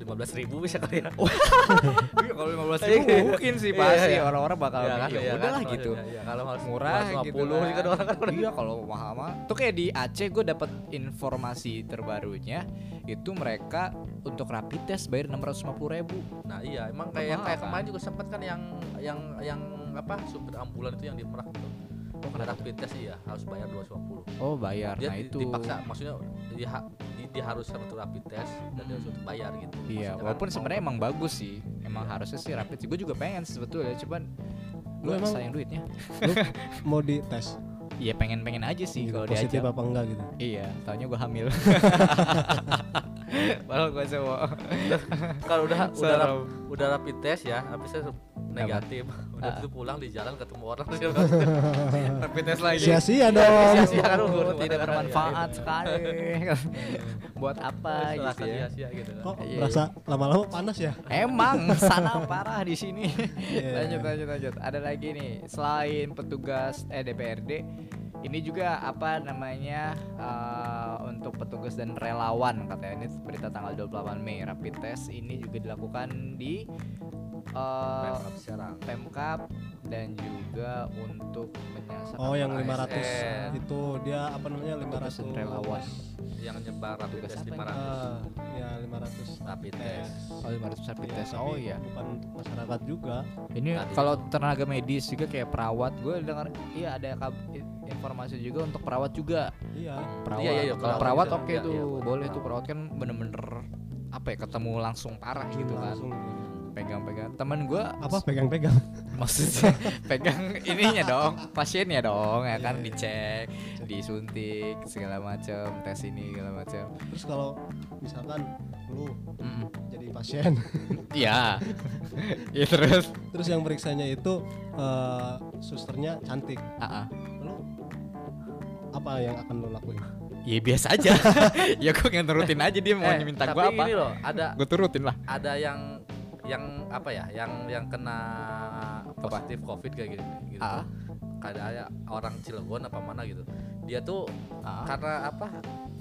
Speaker 2: 15.000 bisa kali ya.
Speaker 1: Iya, kalau lima belas ribu mungkin sih
Speaker 2: Iya,
Speaker 1: pasti
Speaker 2: iya.
Speaker 1: orang-orang bakal ya udahlah
Speaker 2: kan,
Speaker 1: gitu
Speaker 2: iya, iya. Kalau harus
Speaker 1: murah gitu kan.
Speaker 2: juga orang kan udah
Speaker 1: iya kalau mahal mah tuh kayak di Aceh gue dapat informasi terbarunya itu mereka untuk rapid test bayar 650.000 ribu
Speaker 2: Nah, iya, emang kayak yang
Speaker 1: Mahal
Speaker 2: kayak
Speaker 1: kan.
Speaker 2: kemarin juga sempat kan yang yang yang apa supir ambulan itu yang di Merak itu. Oh, kena rapid test iya, harus bayar 250.
Speaker 1: oh bayar
Speaker 2: Dia
Speaker 1: nah
Speaker 2: di-
Speaker 1: itu
Speaker 2: dipaksa maksudnya dia, dia, dia harus untuk rapid test dan dia harus untuk bayar
Speaker 1: iya
Speaker 2: gitu. Maksudnya kan
Speaker 1: walaupun
Speaker 2: mau-
Speaker 1: sebenarnya emang bagus sih emang harusnya sih rapid sih gue juga pengen sih sebetulnya cuman
Speaker 3: Lu
Speaker 1: gue
Speaker 3: emang-
Speaker 1: sayang duitnya
Speaker 3: mau dites
Speaker 1: iya pengen pengen aja sih
Speaker 3: gitu,
Speaker 1: kalau
Speaker 3: positif
Speaker 1: diajak
Speaker 3: apa enggak gitu
Speaker 1: iya taunya gue hamil padahal gue cowok
Speaker 2: kalau udah udah
Speaker 1: Serem.
Speaker 2: rap- udah rapid test ya habis itu negatif udah
Speaker 1: Ah.
Speaker 2: itu pulang di jalan ketemu orang terus
Speaker 1: rapid test lagi
Speaker 3: sia-sia dong
Speaker 2: sia-sia kan umur
Speaker 1: Oh, tidak
Speaker 2: orang, ya,
Speaker 1: bermanfaat sekali buat apa
Speaker 2: gitu
Speaker 1: gitu ya
Speaker 2: sia-sia gitu kan
Speaker 3: kok
Speaker 1: Iya,
Speaker 3: berasa lama-lama panas ya
Speaker 1: Emang sana parah di sini.
Speaker 3: Iya.
Speaker 1: lanjut lanjut lanjut. Ada lagi nih selain petugas eh DPRD ini juga apa namanya eh, untuk petugas dan relawan katanya ini berita tanggal 28 Mei rapid test ini juga dilakukan di eh,
Speaker 2: Pemkab Serang
Speaker 1: Pemkab dan juga untuk menyasar
Speaker 3: oh yang
Speaker 1: ASN.
Speaker 3: 500 itu dia apa namanya
Speaker 1: Petugas dan
Speaker 3: 500
Speaker 1: Iya. relawan.
Speaker 2: yang nyebar rapid
Speaker 1: eh, Tugas
Speaker 2: test
Speaker 1: apa ini?
Speaker 2: 500
Speaker 3: Ah, ya 500
Speaker 2: rapid
Speaker 3: tes
Speaker 2: test
Speaker 1: Oh, 500 rapid
Speaker 3: Iya,
Speaker 1: test.
Speaker 3: tapi
Speaker 1: Oh iya.
Speaker 3: bukan untuk masyarakat juga
Speaker 1: Ini
Speaker 2: Tadi
Speaker 1: kalau
Speaker 2: itu.
Speaker 1: tenaga medis juga kayak perawat, gue dengar iya ada kab- i- informasi juga untuk perawat juga.
Speaker 3: iya
Speaker 1: Perawat.
Speaker 2: Iya, iya, iya,
Speaker 1: kalau perawat oke
Speaker 2: perawat juga. Iya,
Speaker 1: tuh,
Speaker 2: iya, buat
Speaker 1: boleh tuh
Speaker 2: perawat.
Speaker 1: perawat kan bener-bener apa ya ketemu langsung parah gitu kan.
Speaker 3: langsung
Speaker 1: pegang-pegang teman gue
Speaker 3: apa pegang-pegang
Speaker 1: maksudnya pegang ininya dong pasiennya dong ya kan
Speaker 3: Iya, iya.
Speaker 1: dicek disuntik segala macam tes ini segala macam
Speaker 3: terus kalau misalkan lu
Speaker 1: Mm-mm.
Speaker 3: jadi pasien
Speaker 1: iya ya terus
Speaker 3: terus yang meriksanya itu eh, susternya cantik
Speaker 1: Ah, ah.
Speaker 3: lu apa yang akan lu lakuin
Speaker 1: ya biasa aja ya gue nurutin aja dia mau
Speaker 2: Eh,
Speaker 1: minta
Speaker 2: tapi
Speaker 1: gue apa
Speaker 2: ini loh, ada
Speaker 1: gue turutin lah
Speaker 2: ada yang yang apa ya, yang yang kena positif covid kayak gini gitu.
Speaker 1: Ah.
Speaker 2: Kayak orang Cilegon apa mana gitu. Dia tuh
Speaker 1: Ah.
Speaker 2: karena apa?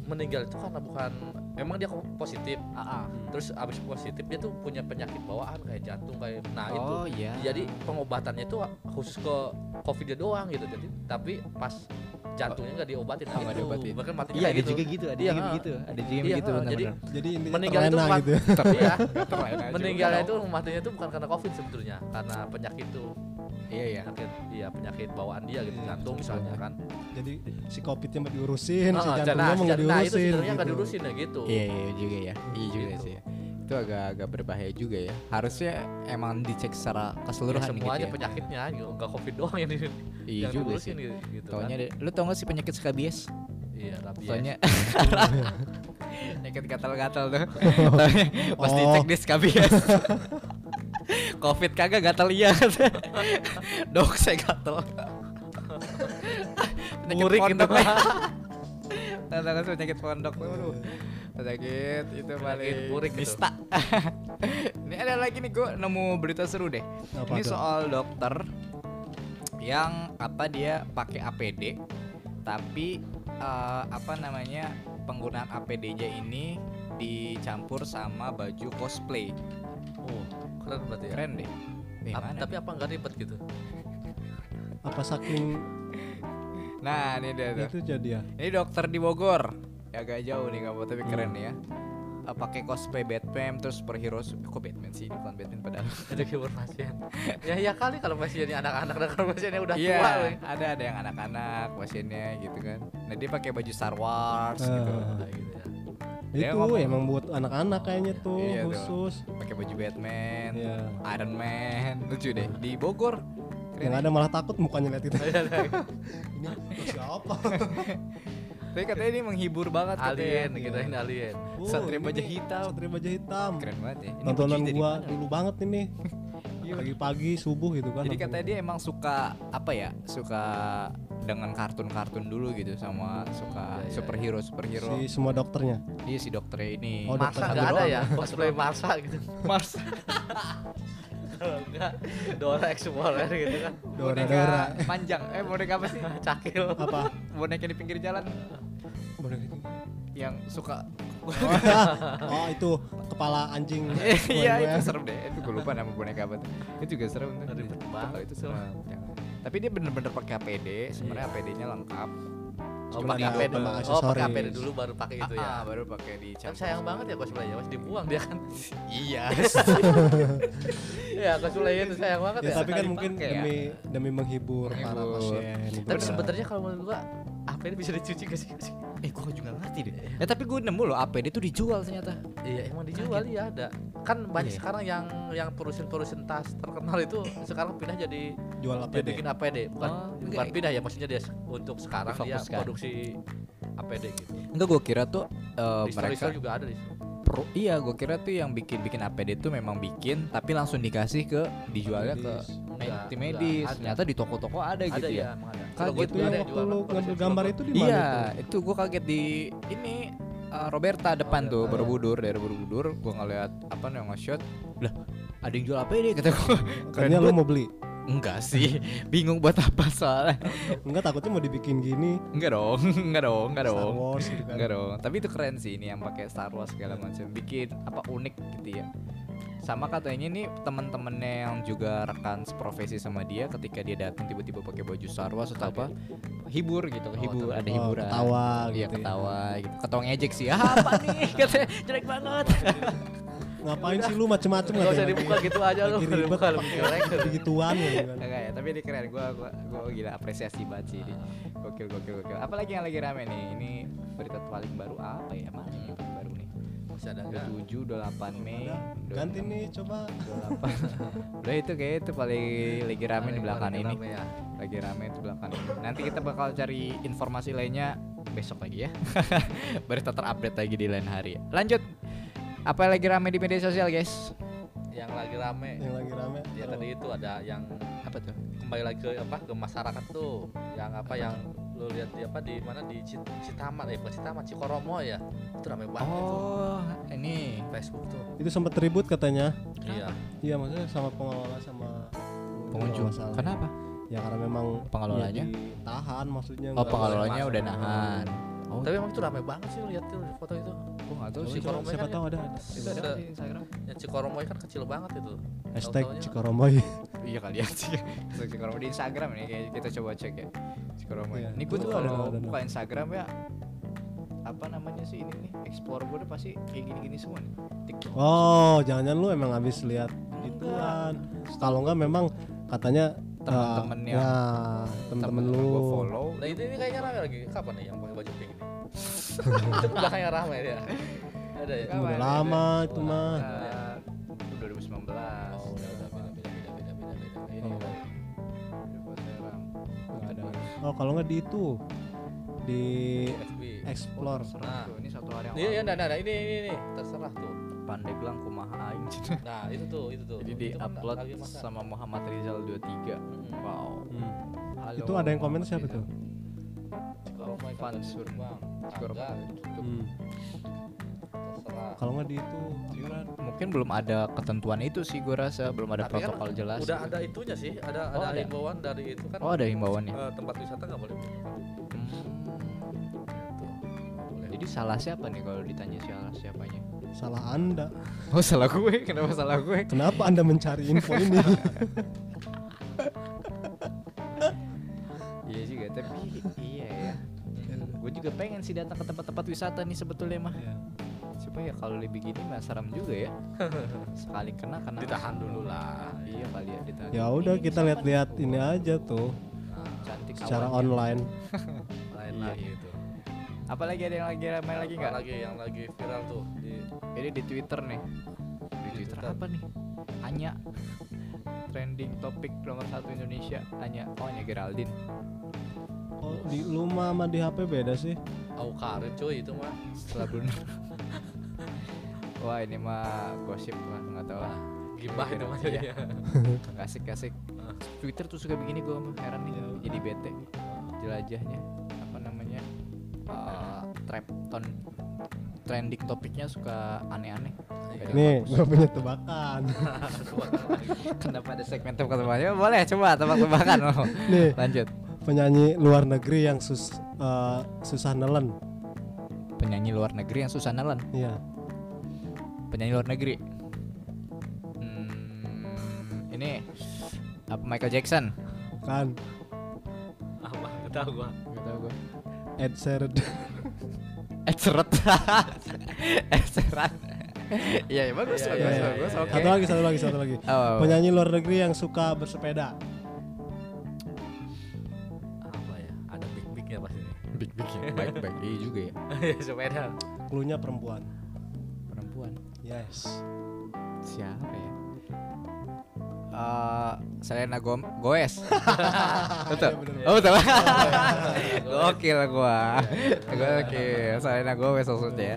Speaker 2: Meninggal itu karena bukan emang dia kok positif. Hmm.
Speaker 1: Ah, ah.
Speaker 2: Terus abis positif dia tuh punya penyakit bawaan kayak jantung kayak nah itu.
Speaker 1: oh iya
Speaker 2: Jadi pengobatannya itu khusus ke covidnya doang gitu. Jadi tapi pas jantungnya nggak diobatin. Gitu.
Speaker 1: Oh, nggak diobatin.
Speaker 2: Bahkan mati
Speaker 4: Iya, ada
Speaker 2: gitu.
Speaker 4: juga gitu, ada
Speaker 2: Iya,
Speaker 4: juga
Speaker 2: ah.
Speaker 4: begitu, ada juga yang
Speaker 2: Iya,
Speaker 4: begitu
Speaker 2: ah, jadi
Speaker 4: benar-benar.
Speaker 3: jadi intinya
Speaker 2: meninggal itu
Speaker 3: terlena
Speaker 2: bukan-
Speaker 3: gitu
Speaker 2: Iya.
Speaker 1: Terlain aja,
Speaker 2: meninggalnya
Speaker 1: udah
Speaker 2: itu matinya itu bukan karena covid sebetulnya karena penyakit itu
Speaker 1: tahu. iya iya
Speaker 2: penyakit iya penyakit bawaan dia gitu
Speaker 3: Iya,
Speaker 2: jantung
Speaker 3: betul.
Speaker 2: misalnya kan
Speaker 3: jadi si covidnya nggak diurusin si
Speaker 2: Ah,
Speaker 3: jantungnya mau nggak
Speaker 2: nah, itu
Speaker 3: diurusin
Speaker 2: sebenarnya nggak
Speaker 3: gitu.
Speaker 2: diurusin ya gitu
Speaker 1: Iya, iya juga ya. Iya juga
Speaker 2: Gitu.
Speaker 1: sih. Itu agak-agak berbahaya juga ya. Harusnya emang dicek secara keseluruhan
Speaker 2: Ya, semuanya
Speaker 1: gitu ya.
Speaker 2: penyakitnya gitu nggak covid doang yang, di-
Speaker 1: Iya
Speaker 2: yang
Speaker 1: juga sih.
Speaker 2: diurusin gitu, gitu kan.
Speaker 1: Taunya deh, lu tau gak sih penyakit skabies?
Speaker 2: iya rabies
Speaker 1: Taunya penyakit gatal-gatal tuh. Taunya pas
Speaker 3: Oh.
Speaker 1: dicek dia skabies. Covid kagak gatal iya. Dok saya gatal. penyakit
Speaker 2: Murik gitu.
Speaker 1: pondok. ya. Tanda kan penyakit pondok tuh. aduh. Penyakit itu paling
Speaker 2: murik gitu.
Speaker 1: nista. Ini ada lagi nih gue nemu berita seru deh.
Speaker 3: Apa
Speaker 1: Ini
Speaker 3: tuh?
Speaker 1: soal dokter yang apa dia pakai APD tapi eh, apa namanya penggunaan APD-nya ini dicampur sama baju cosplay.
Speaker 2: oh keren berarti ya
Speaker 1: Keren deh. Eh,
Speaker 2: Ap-
Speaker 1: mana
Speaker 2: tapi apa nggak ribet gitu
Speaker 3: apa saking
Speaker 1: nih? Nah, ini dia
Speaker 2: Iya.
Speaker 1: tuh.
Speaker 3: itu jadi ya
Speaker 1: Ini dokter di Bogor. Ya, agak jauh nih kamu tapi keren nih ya. Eh, pakai cosplay Batman terus superhero kok Batman sih bukan Batman padahal.
Speaker 2: ada keyboard pasien ya ya kali kalau pasiennya anak-anak dan kalau pasiennya udah
Speaker 1: Iya,
Speaker 2: tua weh.
Speaker 1: ada ada yang anak-anak pasiennya gitu kan. Nah, dia pakai baju Star Wars gitu.
Speaker 3: Eh.
Speaker 2: Nah, gitu ya.
Speaker 1: Dia
Speaker 3: itu
Speaker 1: ngomong-
Speaker 3: emang buat anak-anak kayaknya tuh
Speaker 1: Iya tuh.
Speaker 3: khusus
Speaker 1: Pakai baju Batman,
Speaker 3: Iya.
Speaker 1: Iron Man. Lucu deh di Bogor. Keren.
Speaker 3: yang
Speaker 1: ya.
Speaker 3: ada malah takut mukanya lihat itu
Speaker 2: Iya, ada.
Speaker 3: ini siapa
Speaker 1: Tapi katanya dia menghibur banget
Speaker 2: alien gitu.
Speaker 1: katanya.
Speaker 2: kita ini alien
Speaker 3: Oh,
Speaker 1: Satria
Speaker 3: ini
Speaker 1: Baja
Speaker 3: nih,
Speaker 1: Hitam.
Speaker 3: Satria Baja Hitam
Speaker 1: Keren banget ya. Ini
Speaker 3: tontonan
Speaker 1: bajunya dari
Speaker 3: gua
Speaker 1: mana? Iya.
Speaker 3: dulu banget ini pagi-pagi subuh gitu kan
Speaker 1: Jadi
Speaker 3: nonton.
Speaker 1: katanya dia emang suka apa ya? Suka dengan kartun-kartun dulu gitu sama suka
Speaker 2: Iya, iya,
Speaker 1: superhero superhero.
Speaker 3: si semua dokternya
Speaker 1: Dia si dokternya ini.
Speaker 3: Oh,
Speaker 1: Mas-
Speaker 2: Masa
Speaker 3: dokter
Speaker 2: nggak
Speaker 1: satu
Speaker 2: ada
Speaker 1: doang.
Speaker 2: ya cosplay Masa gitu.
Speaker 1: Mars.
Speaker 2: Kalau Enggak, Dora Explorer gitu kan.
Speaker 3: Dora,
Speaker 1: boneka
Speaker 3: Dora.
Speaker 1: panjang. Eh boneka apa sih?
Speaker 2: Cakil.
Speaker 3: apa
Speaker 1: boneka di pinggir jalan
Speaker 3: Boneka itu.
Speaker 1: yang suka
Speaker 3: oh itu kepala anjing
Speaker 1: iya itu
Speaker 3: semuanya.
Speaker 1: serem deh itu gue lupa nama boneka apa tuh. itu juga serem tuh Iya.
Speaker 2: Ribet
Speaker 1: Coba
Speaker 2: banget
Speaker 1: itu
Speaker 2: itu.
Speaker 1: serem Jangan. tapi dia bener-bener pakai APD sebenarnya APD-nya lengkap
Speaker 2: Oh,
Speaker 3: Cuma
Speaker 2: pakai
Speaker 3: ada
Speaker 2: HP dulu.
Speaker 3: nama
Speaker 2: Oh, pakai
Speaker 3: aksesoris.
Speaker 2: HP dulu baru pakai itu
Speaker 1: Ah, ah,
Speaker 2: ya.
Speaker 1: baru pakai di
Speaker 2: Kan sayang banget ya cosplaynya, masih dibuang dia kan.
Speaker 1: iya
Speaker 2: Iya, cosplaynya itu sayang banget
Speaker 3: ya,
Speaker 2: ya.
Speaker 3: tapi kan
Speaker 1: Sekali
Speaker 3: mungkin
Speaker 1: pakai ya.
Speaker 3: demi demi menghibur, para
Speaker 1: Menghibur.
Speaker 3: pasien gitu
Speaker 2: Tapi
Speaker 3: kan.
Speaker 2: sebenarnya kalau menurut gua HP ini bisa dicuci gak sih?
Speaker 1: eh gue juga ngerti deh ya tapi gue nemu loh APD tuh dijual ternyata
Speaker 2: Iya, emang dijual ya ada. Kan banyak
Speaker 1: Iya.
Speaker 2: sekarang yang yang perusin-perusin tas terkenal itu sekarang pindah jadi
Speaker 3: jual apa
Speaker 2: dia bikin APD, bukan
Speaker 1: Iya Oh,
Speaker 2: bukan
Speaker 1: enggak.
Speaker 2: pindah ya maksudnya dia se- untuk sekarang dia
Speaker 1: Difokuskan.
Speaker 2: produksi APD gitu.
Speaker 1: enggak gue kira tuh eh,
Speaker 2: Di
Speaker 1: mereka
Speaker 2: store-store juga ada di situ.
Speaker 1: pro iya gue kira tuh yang bikin bikin APD tuh memang bikin tapi langsung dikasih ke dijualnya ke
Speaker 3: Medis.
Speaker 2: Enggak,
Speaker 1: tim
Speaker 2: enggak,
Speaker 1: medis
Speaker 2: ada.
Speaker 1: ternyata di toko-toko ada,
Speaker 2: ada
Speaker 1: gitu
Speaker 2: ya,
Speaker 1: ya
Speaker 2: emang ada.
Speaker 1: Kan
Speaker 2: Kalau gua
Speaker 1: gitu
Speaker 3: itu
Speaker 2: juga
Speaker 3: yang
Speaker 2: ada
Speaker 3: Iya, waktu
Speaker 2: jual
Speaker 3: lu
Speaker 2: produksi
Speaker 3: ngambil
Speaker 2: film
Speaker 3: gambar
Speaker 2: gua.
Speaker 3: itu di mana
Speaker 1: Iya,
Speaker 3: itu?
Speaker 1: itu gue kaget di ini uh, Roberta depan tuh Borobudur dari Borobudur gue ngeliat apa nih nge-shot lah ada yang jual apa ini kata gue keren
Speaker 3: Kayaknya lu
Speaker 1: banget.
Speaker 3: mau beli.
Speaker 1: enggak sih bingung buat apa soalnya
Speaker 3: Enggak takutnya mau dibikin gini.
Speaker 1: enggak dong enggak dong enggak
Speaker 3: Star
Speaker 1: dong
Speaker 3: Wars gitu kan.
Speaker 1: enggak dong tapi itu keren sih ini yang pakai Star Wars segala macam bikin apa unik gitu ya sama katanya nih temen-temennya yang juga rekan seprofesi sama dia ketika dia datang tiba-tiba pakai baju Star Wars atau apa hibur gitu hibur ada
Speaker 3: Oh,
Speaker 1: hiburan
Speaker 3: ketawa
Speaker 1: Iya
Speaker 3: gitu ya.
Speaker 1: ketawa gitu. Ketong ejek sih. Ah, apa nih? Katanya jelek banget.
Speaker 3: Ngapain sih lu macem-macem
Speaker 2: Gak usah
Speaker 3: katanya.
Speaker 2: dibuka gitu aja
Speaker 1: Iya,
Speaker 2: lu.
Speaker 3: Lagi
Speaker 2: Udah
Speaker 3: ribet
Speaker 2: dibuka lebih jelek.
Speaker 3: begituan ya gitu kan.
Speaker 1: Enggak ya, tapi ini keren. Gua gua gua gila apresiasi banget sih ini. Gokil gokil gokil. Apalagi yang lagi rame nih. Ini berita paling baru apa ya? Mana yang paling baru nih? udah
Speaker 2: cadangan.
Speaker 1: tujuh udah delapan Mei
Speaker 3: Ada.
Speaker 1: udah
Speaker 3: ganti
Speaker 1: enam,
Speaker 3: nih coba
Speaker 1: udah delapan udah itu kayak itu paling lagi rame di
Speaker 2: Paling-
Speaker 1: belakang
Speaker 2: paling
Speaker 1: ini
Speaker 2: rame ya.
Speaker 1: lagi rame di belakang ini nanti kita bakal cari informasi lainnya besok lagi ya baru kita terupdate lagi di lain hari lanjut apa yang lagi rame di media sosial guys
Speaker 2: Yang lagi rame.
Speaker 1: Iya.
Speaker 3: yang lagi rame
Speaker 2: Ya
Speaker 3: Aduh,
Speaker 2: tadi itu ada yang
Speaker 1: apa tuh
Speaker 2: kembali lagi ke apa ke masyarakat tuh yang apa yang lu lihat di apa di mana di Cit- Citaman ya bukan Citaman Cikoromo ya itu ramai banget itu
Speaker 1: oh Oh. ini
Speaker 2: Facebook tuh
Speaker 3: itu sempat ribut katanya
Speaker 2: iya
Speaker 3: iya maksudnya sama pengelola sama
Speaker 1: pengunjung
Speaker 3: kalau nggak salah.
Speaker 1: kenapa
Speaker 3: ya karena memang
Speaker 1: Pengelolanya?
Speaker 3: tahan maksudnya
Speaker 1: oh
Speaker 3: nggak-
Speaker 1: pengelolanya
Speaker 2: masuk.
Speaker 1: udah nahan oh
Speaker 2: tapi emang itu ramai banget sih lu lihat tuh foto itu
Speaker 1: gua nggak tahu
Speaker 3: Coba-
Speaker 1: sih
Speaker 2: Cikoromo
Speaker 3: coba- siapa
Speaker 2: kan
Speaker 1: ya?
Speaker 3: tahu ada
Speaker 1: itu ada nggak sih Instagram
Speaker 2: ya Cikoromo kan kecil banget itu
Speaker 3: hashtag
Speaker 2: Tahu-taunya-
Speaker 3: Cikoromoy
Speaker 1: iya kali ya sih Cikoromo di Instagram nih kayak kita coba cek ya Cikoromo
Speaker 3: Iya.
Speaker 1: ini gue tuh
Speaker 3: Ada, ada,
Speaker 1: kalau
Speaker 3: ada.
Speaker 1: buka Instagram ya apa namanya sih ini nih explore gue udah pasti kayak gini-gini semua nih TikTok
Speaker 3: oh jangan-jangan lu emang habis lihat
Speaker 1: Enggak.
Speaker 3: gituan kalau enggak memang katanya
Speaker 1: Teman-teman
Speaker 3: eh,
Speaker 1: yang-
Speaker 3: ya, temen-temen lu
Speaker 1: gue follow
Speaker 2: nah itu ini kayaknya ramai lagi kapan nih yang pakai baju pink ini itu belakangnya ramai ya ada ya
Speaker 1: Kapan?
Speaker 3: udah lama itu
Speaker 2: Udah
Speaker 3: mah
Speaker 1: eh, 2019
Speaker 2: oh udah udah beda beda beda beda beda beda ini
Speaker 3: Oh.
Speaker 2: udah.
Speaker 1: Buat Serang.
Speaker 3: Nggak ada. oh kalau nggak di itu di
Speaker 2: FB
Speaker 1: Eh,
Speaker 3: explore
Speaker 1: Serang
Speaker 2: Nah.
Speaker 1: tuh, ini satu hari yang
Speaker 2: Iya, iya,
Speaker 1: lalu.
Speaker 2: nah, nah, nah, ini, ini, ini, terserah tuh.
Speaker 1: Pandeglang kumaha aing
Speaker 2: Nah, itu tuh, itu tuh.
Speaker 1: jadi di
Speaker 2: Itu kan
Speaker 1: upload
Speaker 2: lagi masa-
Speaker 1: sama Muhammad Rizal 23
Speaker 2: Mm-mm.
Speaker 1: wow
Speaker 3: Hmm.
Speaker 1: Halo,
Speaker 3: itu ada yang komen
Speaker 1: Muhammad
Speaker 3: siapa
Speaker 1: Rizal.
Speaker 3: tuh
Speaker 2: Kalau mereka
Speaker 1: Pan
Speaker 2: ada
Speaker 1: Sur-
Speaker 2: sumbang,
Speaker 1: Cikoromo
Speaker 2: ada,
Speaker 1: tutup.
Speaker 3: Hmm.
Speaker 2: terserah.
Speaker 3: kalau nggak di itu Jiran.
Speaker 1: mungkin belum ada ketentuan itu sih gue rasa belum ada
Speaker 2: Tapi kan
Speaker 1: protokol jelas
Speaker 2: Udah ada itunya sih, ada
Speaker 1: Oh,
Speaker 2: ada ya?
Speaker 1: ada.
Speaker 2: himbauan dari itu kan.
Speaker 1: oh ada himbauannya
Speaker 2: eh, tempat wisata nggak boleh buka. Gitu. Nggak boleh.
Speaker 1: Hmm. jadi salah siapa nih kalau ditanya salah siapanya
Speaker 3: salah anda
Speaker 1: oh salah gue kenapa salah gue
Speaker 3: kenapa anda mencari info ini
Speaker 1: iya juga tapi iya ya gue juga pengen sih datang ke tempat-tempat wisata nih sebetulnya mah supaya ya kalau lebih gini mah serem juga ya sekali kena kena
Speaker 2: Ditahan dulu lah.
Speaker 1: iya kali ya ditahan
Speaker 3: ya udah
Speaker 1: Ini
Speaker 3: kita
Speaker 1: siapa
Speaker 3: lihat-lihat
Speaker 1: nih?
Speaker 3: ini aja tuh
Speaker 2: Nah,
Speaker 1: cantik
Speaker 3: secara
Speaker 1: kawannya.
Speaker 3: online
Speaker 2: lain
Speaker 1: Iya.
Speaker 2: lagi itu.
Speaker 1: apalagi ada yang lagi ramai lagi
Speaker 2: Apa
Speaker 1: nggak
Speaker 2: lagi yang lagi viral tuh di
Speaker 1: Ini di Twitter nih. Di Twitter
Speaker 2: Twitter.
Speaker 1: apa nih? Anya. Trending topik nomor satu Indonesia. Anya. Oh, Anya Geraldine.
Speaker 3: oh, di luma sama di HP beda sih
Speaker 2: Au Karim cuy itu mah.
Speaker 1: Setelah blunder. Wah, ini mah gosip lah, nggak tahu lah.
Speaker 2: Gibah itu Ah. mah
Speaker 1: Iya.
Speaker 2: jadinya.
Speaker 1: Kasih kasih. Twitter tuh suka begini gue mah heran
Speaker 2: Iya.
Speaker 1: nih. Jadi bete. Jelajahnya apa namanya? eh trap ton trending topiknya suka aneh-aneh.
Speaker 2: Iya.
Speaker 1: Kadang
Speaker 3: nih
Speaker 1: bagus.
Speaker 3: gue punya tebakan
Speaker 1: Kenapa ada segmen tebak-tebakannya? Boleh coba tebak-tebakan lo.
Speaker 3: nih
Speaker 1: Lanjut.
Speaker 3: penyanyi luar negeri yang sus eh, susah nelen
Speaker 1: penyanyi luar negeri yang susah nelen
Speaker 3: iya
Speaker 1: penyanyi luar negeri hmm, ini apa Michael Jackson
Speaker 3: kan
Speaker 2: Apa? Nggak tahu gua.
Speaker 1: Gak tau gue
Speaker 3: Ed Sheeran
Speaker 1: Ed Sheeran Ed Sheeran Eh, iya iya, bagus
Speaker 2: Iya,
Speaker 1: bagus
Speaker 3: iya, iya,
Speaker 1: bagus
Speaker 2: iya.
Speaker 1: oke
Speaker 3: satu lagi satu lagi satu lagi
Speaker 1: Oh,
Speaker 3: penyanyi luar negeri yang suka bersepeda
Speaker 2: Apa ya? Ada big bignya pasti nih.
Speaker 1: big big ya. baik baik iya juga ya
Speaker 2: Sepeda.
Speaker 3: klunya perempuan
Speaker 1: perempuan
Speaker 3: yes
Speaker 1: siapa ya Eh, Selena Gom Goes betul oh betul
Speaker 2: Iya,
Speaker 1: gokil gua gokil Selena Gomez maksudnya ya.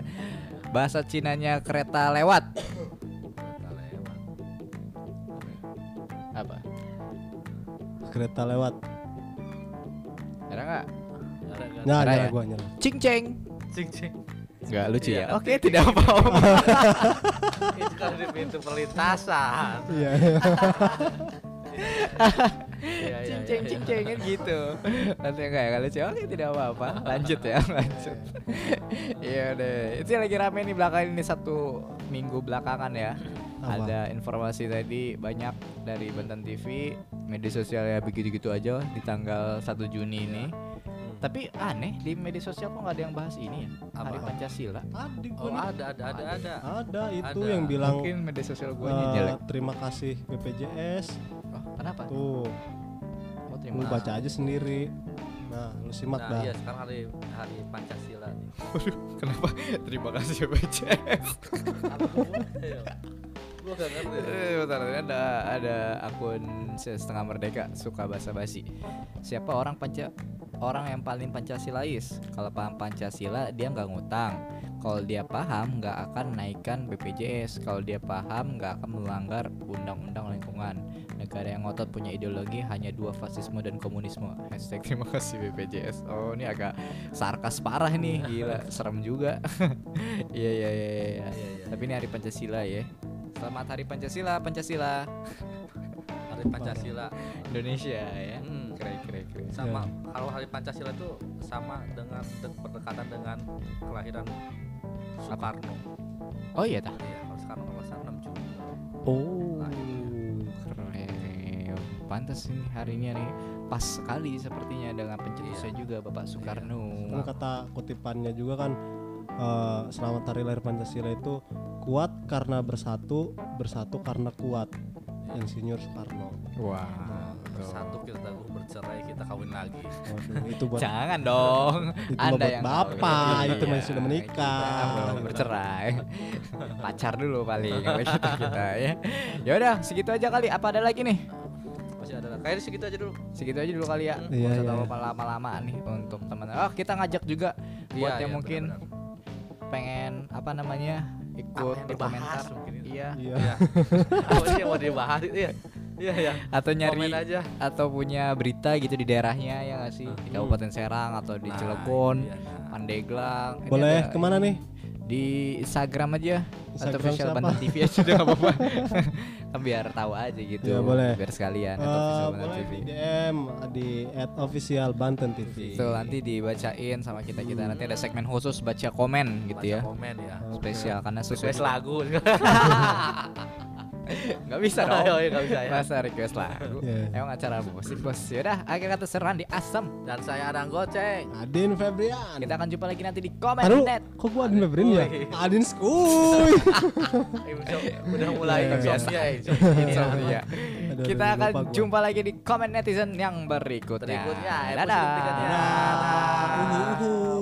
Speaker 1: bahasa Cinanya kereta lewat
Speaker 2: Kereta lewat.
Speaker 1: apa
Speaker 3: kereta lewat
Speaker 1: ada nggak
Speaker 2: Ada nggak?
Speaker 3: nah
Speaker 1: Ada
Speaker 3: nyala
Speaker 1: ya?
Speaker 3: gua nyala
Speaker 1: cing ceng
Speaker 2: Cing cing.
Speaker 1: nggak lucu ya
Speaker 2: Iya.
Speaker 1: oke tidak apa-apa
Speaker 2: Itu kan di pintu perlintasan.
Speaker 3: iya
Speaker 2: Iya, iya,
Speaker 1: cing ceng
Speaker 2: iya,
Speaker 1: cing
Speaker 2: iya.
Speaker 1: ceng kan gitu nanti nggak ya nggak lucu oke tidak apa-apa lanjut ya lanjut iya deh itu yang lagi rame nih belakangan ini satu minggu belakangan ya
Speaker 3: Apa?
Speaker 1: ada informasi tadi banyak dari Banten TV media sosial ya begitu-gitu aja di tanggal 1 Juni ini Tapi aneh di media sosial kok nggak ada yang bahas ini ya
Speaker 2: Apa?
Speaker 1: Hari Pancasila.
Speaker 3: tadi
Speaker 2: Oh,
Speaker 3: Ah, gua nih-
Speaker 2: ada ada ada ada.
Speaker 3: ada itu
Speaker 2: Ada.
Speaker 3: yang bilang
Speaker 1: Mungkin media sosial gue
Speaker 3: eh,
Speaker 1: ini jelek.
Speaker 3: terima kasih BPJS
Speaker 1: Oh, kenapa? Oh,
Speaker 3: tuh lu
Speaker 1: terima
Speaker 3: baca aja sendiri Nah, lu simak
Speaker 2: nah,
Speaker 3: Bang.
Speaker 2: iya sekarang hari hari Pancasila nih.
Speaker 1: Kenapa? Terima kasih BCS.
Speaker 2: Apa hubungannya ya? Gua gak ngerti. Iya, deh.
Speaker 1: Eh, bentar, ini ada ada akun setengah merdeka suka basa-basi. Siapa orang panca orang yang paling pancasilais? Kalau paham Pancasila dia nggak ngutang. Kalau dia paham nggak akan naikkan BPJS. Kalau dia paham nggak akan melanggar undang-undang lingkungan. Negara yang ngotot punya ideologi hanya dua fasisme dan komunisme. Hashtag terima kasih BPJS. Oh ini agak sarkas parah nih, gila serem juga. Iya iya iya. iya.
Speaker 2: Iya, iya.
Speaker 1: Tapi ini hari Pancasila ya. Selamat hari Pancasila, Pancasila
Speaker 2: Hari Pancasila.
Speaker 1: Indonesia ya.
Speaker 2: Hmm.
Speaker 1: Keren keren keren.
Speaker 2: sama kalau hari Pancasila itu sama dengan de- berdekatan dengan kelahiran Soekarno.
Speaker 1: Oh iya
Speaker 3: Uh,
Speaker 1: tah.
Speaker 2: Iya, kalau Soekarno kalau 6 Juni.
Speaker 1: Oh. Keren. Pantas ini harinya nih pas sekali sepertinya dengan
Speaker 3: Iya.
Speaker 1: pencetusnya juga Bapak Soekarno.
Speaker 3: Kan kata kutipannya juga kan eh, selamat hari lahir Pancasila itu kuat karena bersatu, bersatu karena kuat. Insinyur Soekarno.
Speaker 1: Wah.
Speaker 2: Nah, Bersatu kita teguh bercerai kita kawin lagi.
Speaker 3: Waduh, itu buat
Speaker 1: Jangan dong.
Speaker 3: itu
Speaker 1: Anda
Speaker 3: buat
Speaker 1: yang
Speaker 3: bapak,
Speaker 1: tahu.
Speaker 3: itu
Speaker 1: Iya,
Speaker 3: masih sudah menikah.
Speaker 1: kita
Speaker 3: Iya.
Speaker 1: belum bercerai. Pacar dulu paling kita kita ya. Ya udah, segitu aja kali. Apa ada lagi nih?
Speaker 2: Masih ada kayaknya segitu aja dulu.
Speaker 1: segitu aja dulu kali ya
Speaker 3: Iya,
Speaker 1: Nggak usah
Speaker 3: iya,
Speaker 1: terlalu
Speaker 3: iya.
Speaker 1: lama-lama nih untuk teman oh kita ngajak juga buat yang
Speaker 2: Iya, iya,
Speaker 1: mungkin
Speaker 2: benar-benar.
Speaker 1: pengen apa namanya ikut
Speaker 2: Apa yang
Speaker 1: berkomentar
Speaker 2: dibahas mungkin itu.
Speaker 1: iya
Speaker 3: Iya.
Speaker 2: Iya. Apa sih yang mau dibahas? Iya. Iya, iya.
Speaker 1: atau nyari
Speaker 2: Komen aja.
Speaker 1: atau punya berita gitu di daerahnya ya nggak sih di Kabupaten Serang atau di
Speaker 2: Nah,
Speaker 1: Cilegon
Speaker 2: iya, nah.
Speaker 1: Pandeglang Ini
Speaker 3: Boleh
Speaker 1: ada
Speaker 3: kemana nih?
Speaker 1: di Instagram aja atau
Speaker 3: Instagram
Speaker 1: official
Speaker 3: siapa?
Speaker 1: Banten TV aja udah nggak apa-apa Kan biar tahu aja gitu
Speaker 3: Iya, boleh.
Speaker 1: biar sekalian atau
Speaker 3: Eh,
Speaker 1: official Banten
Speaker 3: boleh
Speaker 1: TV
Speaker 3: di DM di @officialbantentv.
Speaker 1: Tuh nanti dibacain sama kita kita nanti ada segmen khusus baca komen gitu
Speaker 2: Baca
Speaker 1: ya
Speaker 2: komen ya.
Speaker 1: spesial karena
Speaker 2: Request
Speaker 1: sesuai
Speaker 2: lagu.
Speaker 1: nggak bisa dong
Speaker 2: Oh, iya, nggak bisa ya.
Speaker 1: masa request lagu
Speaker 3: Iya.
Speaker 1: emang acara musik bos yaudah akhir kata seruan di asem
Speaker 2: Dan saya Adang Goceng.
Speaker 3: Adin Febrian.
Speaker 1: kita akan jumpa lagi nanti di komen
Speaker 3: Aduh,
Speaker 1: net
Speaker 3: kok gua Adin Febrian ya?
Speaker 2: Kuy.
Speaker 3: Adin Skuy.
Speaker 2: Insomnia- udah mulai
Speaker 1: Iya,
Speaker 2: insomnia,
Speaker 1: biasa.
Speaker 2: insomnia.
Speaker 1: Insomnia. ya.
Speaker 3: Aduh,
Speaker 1: kita
Speaker 3: aduh,
Speaker 1: akan
Speaker 3: lupa gua.
Speaker 1: jumpa lagi di komen netizen yang berikutnya
Speaker 2: Berikutnya, episode
Speaker 1: dadah
Speaker 2: berikutnya.
Speaker 3: Dadah. Uhuh, uhuh.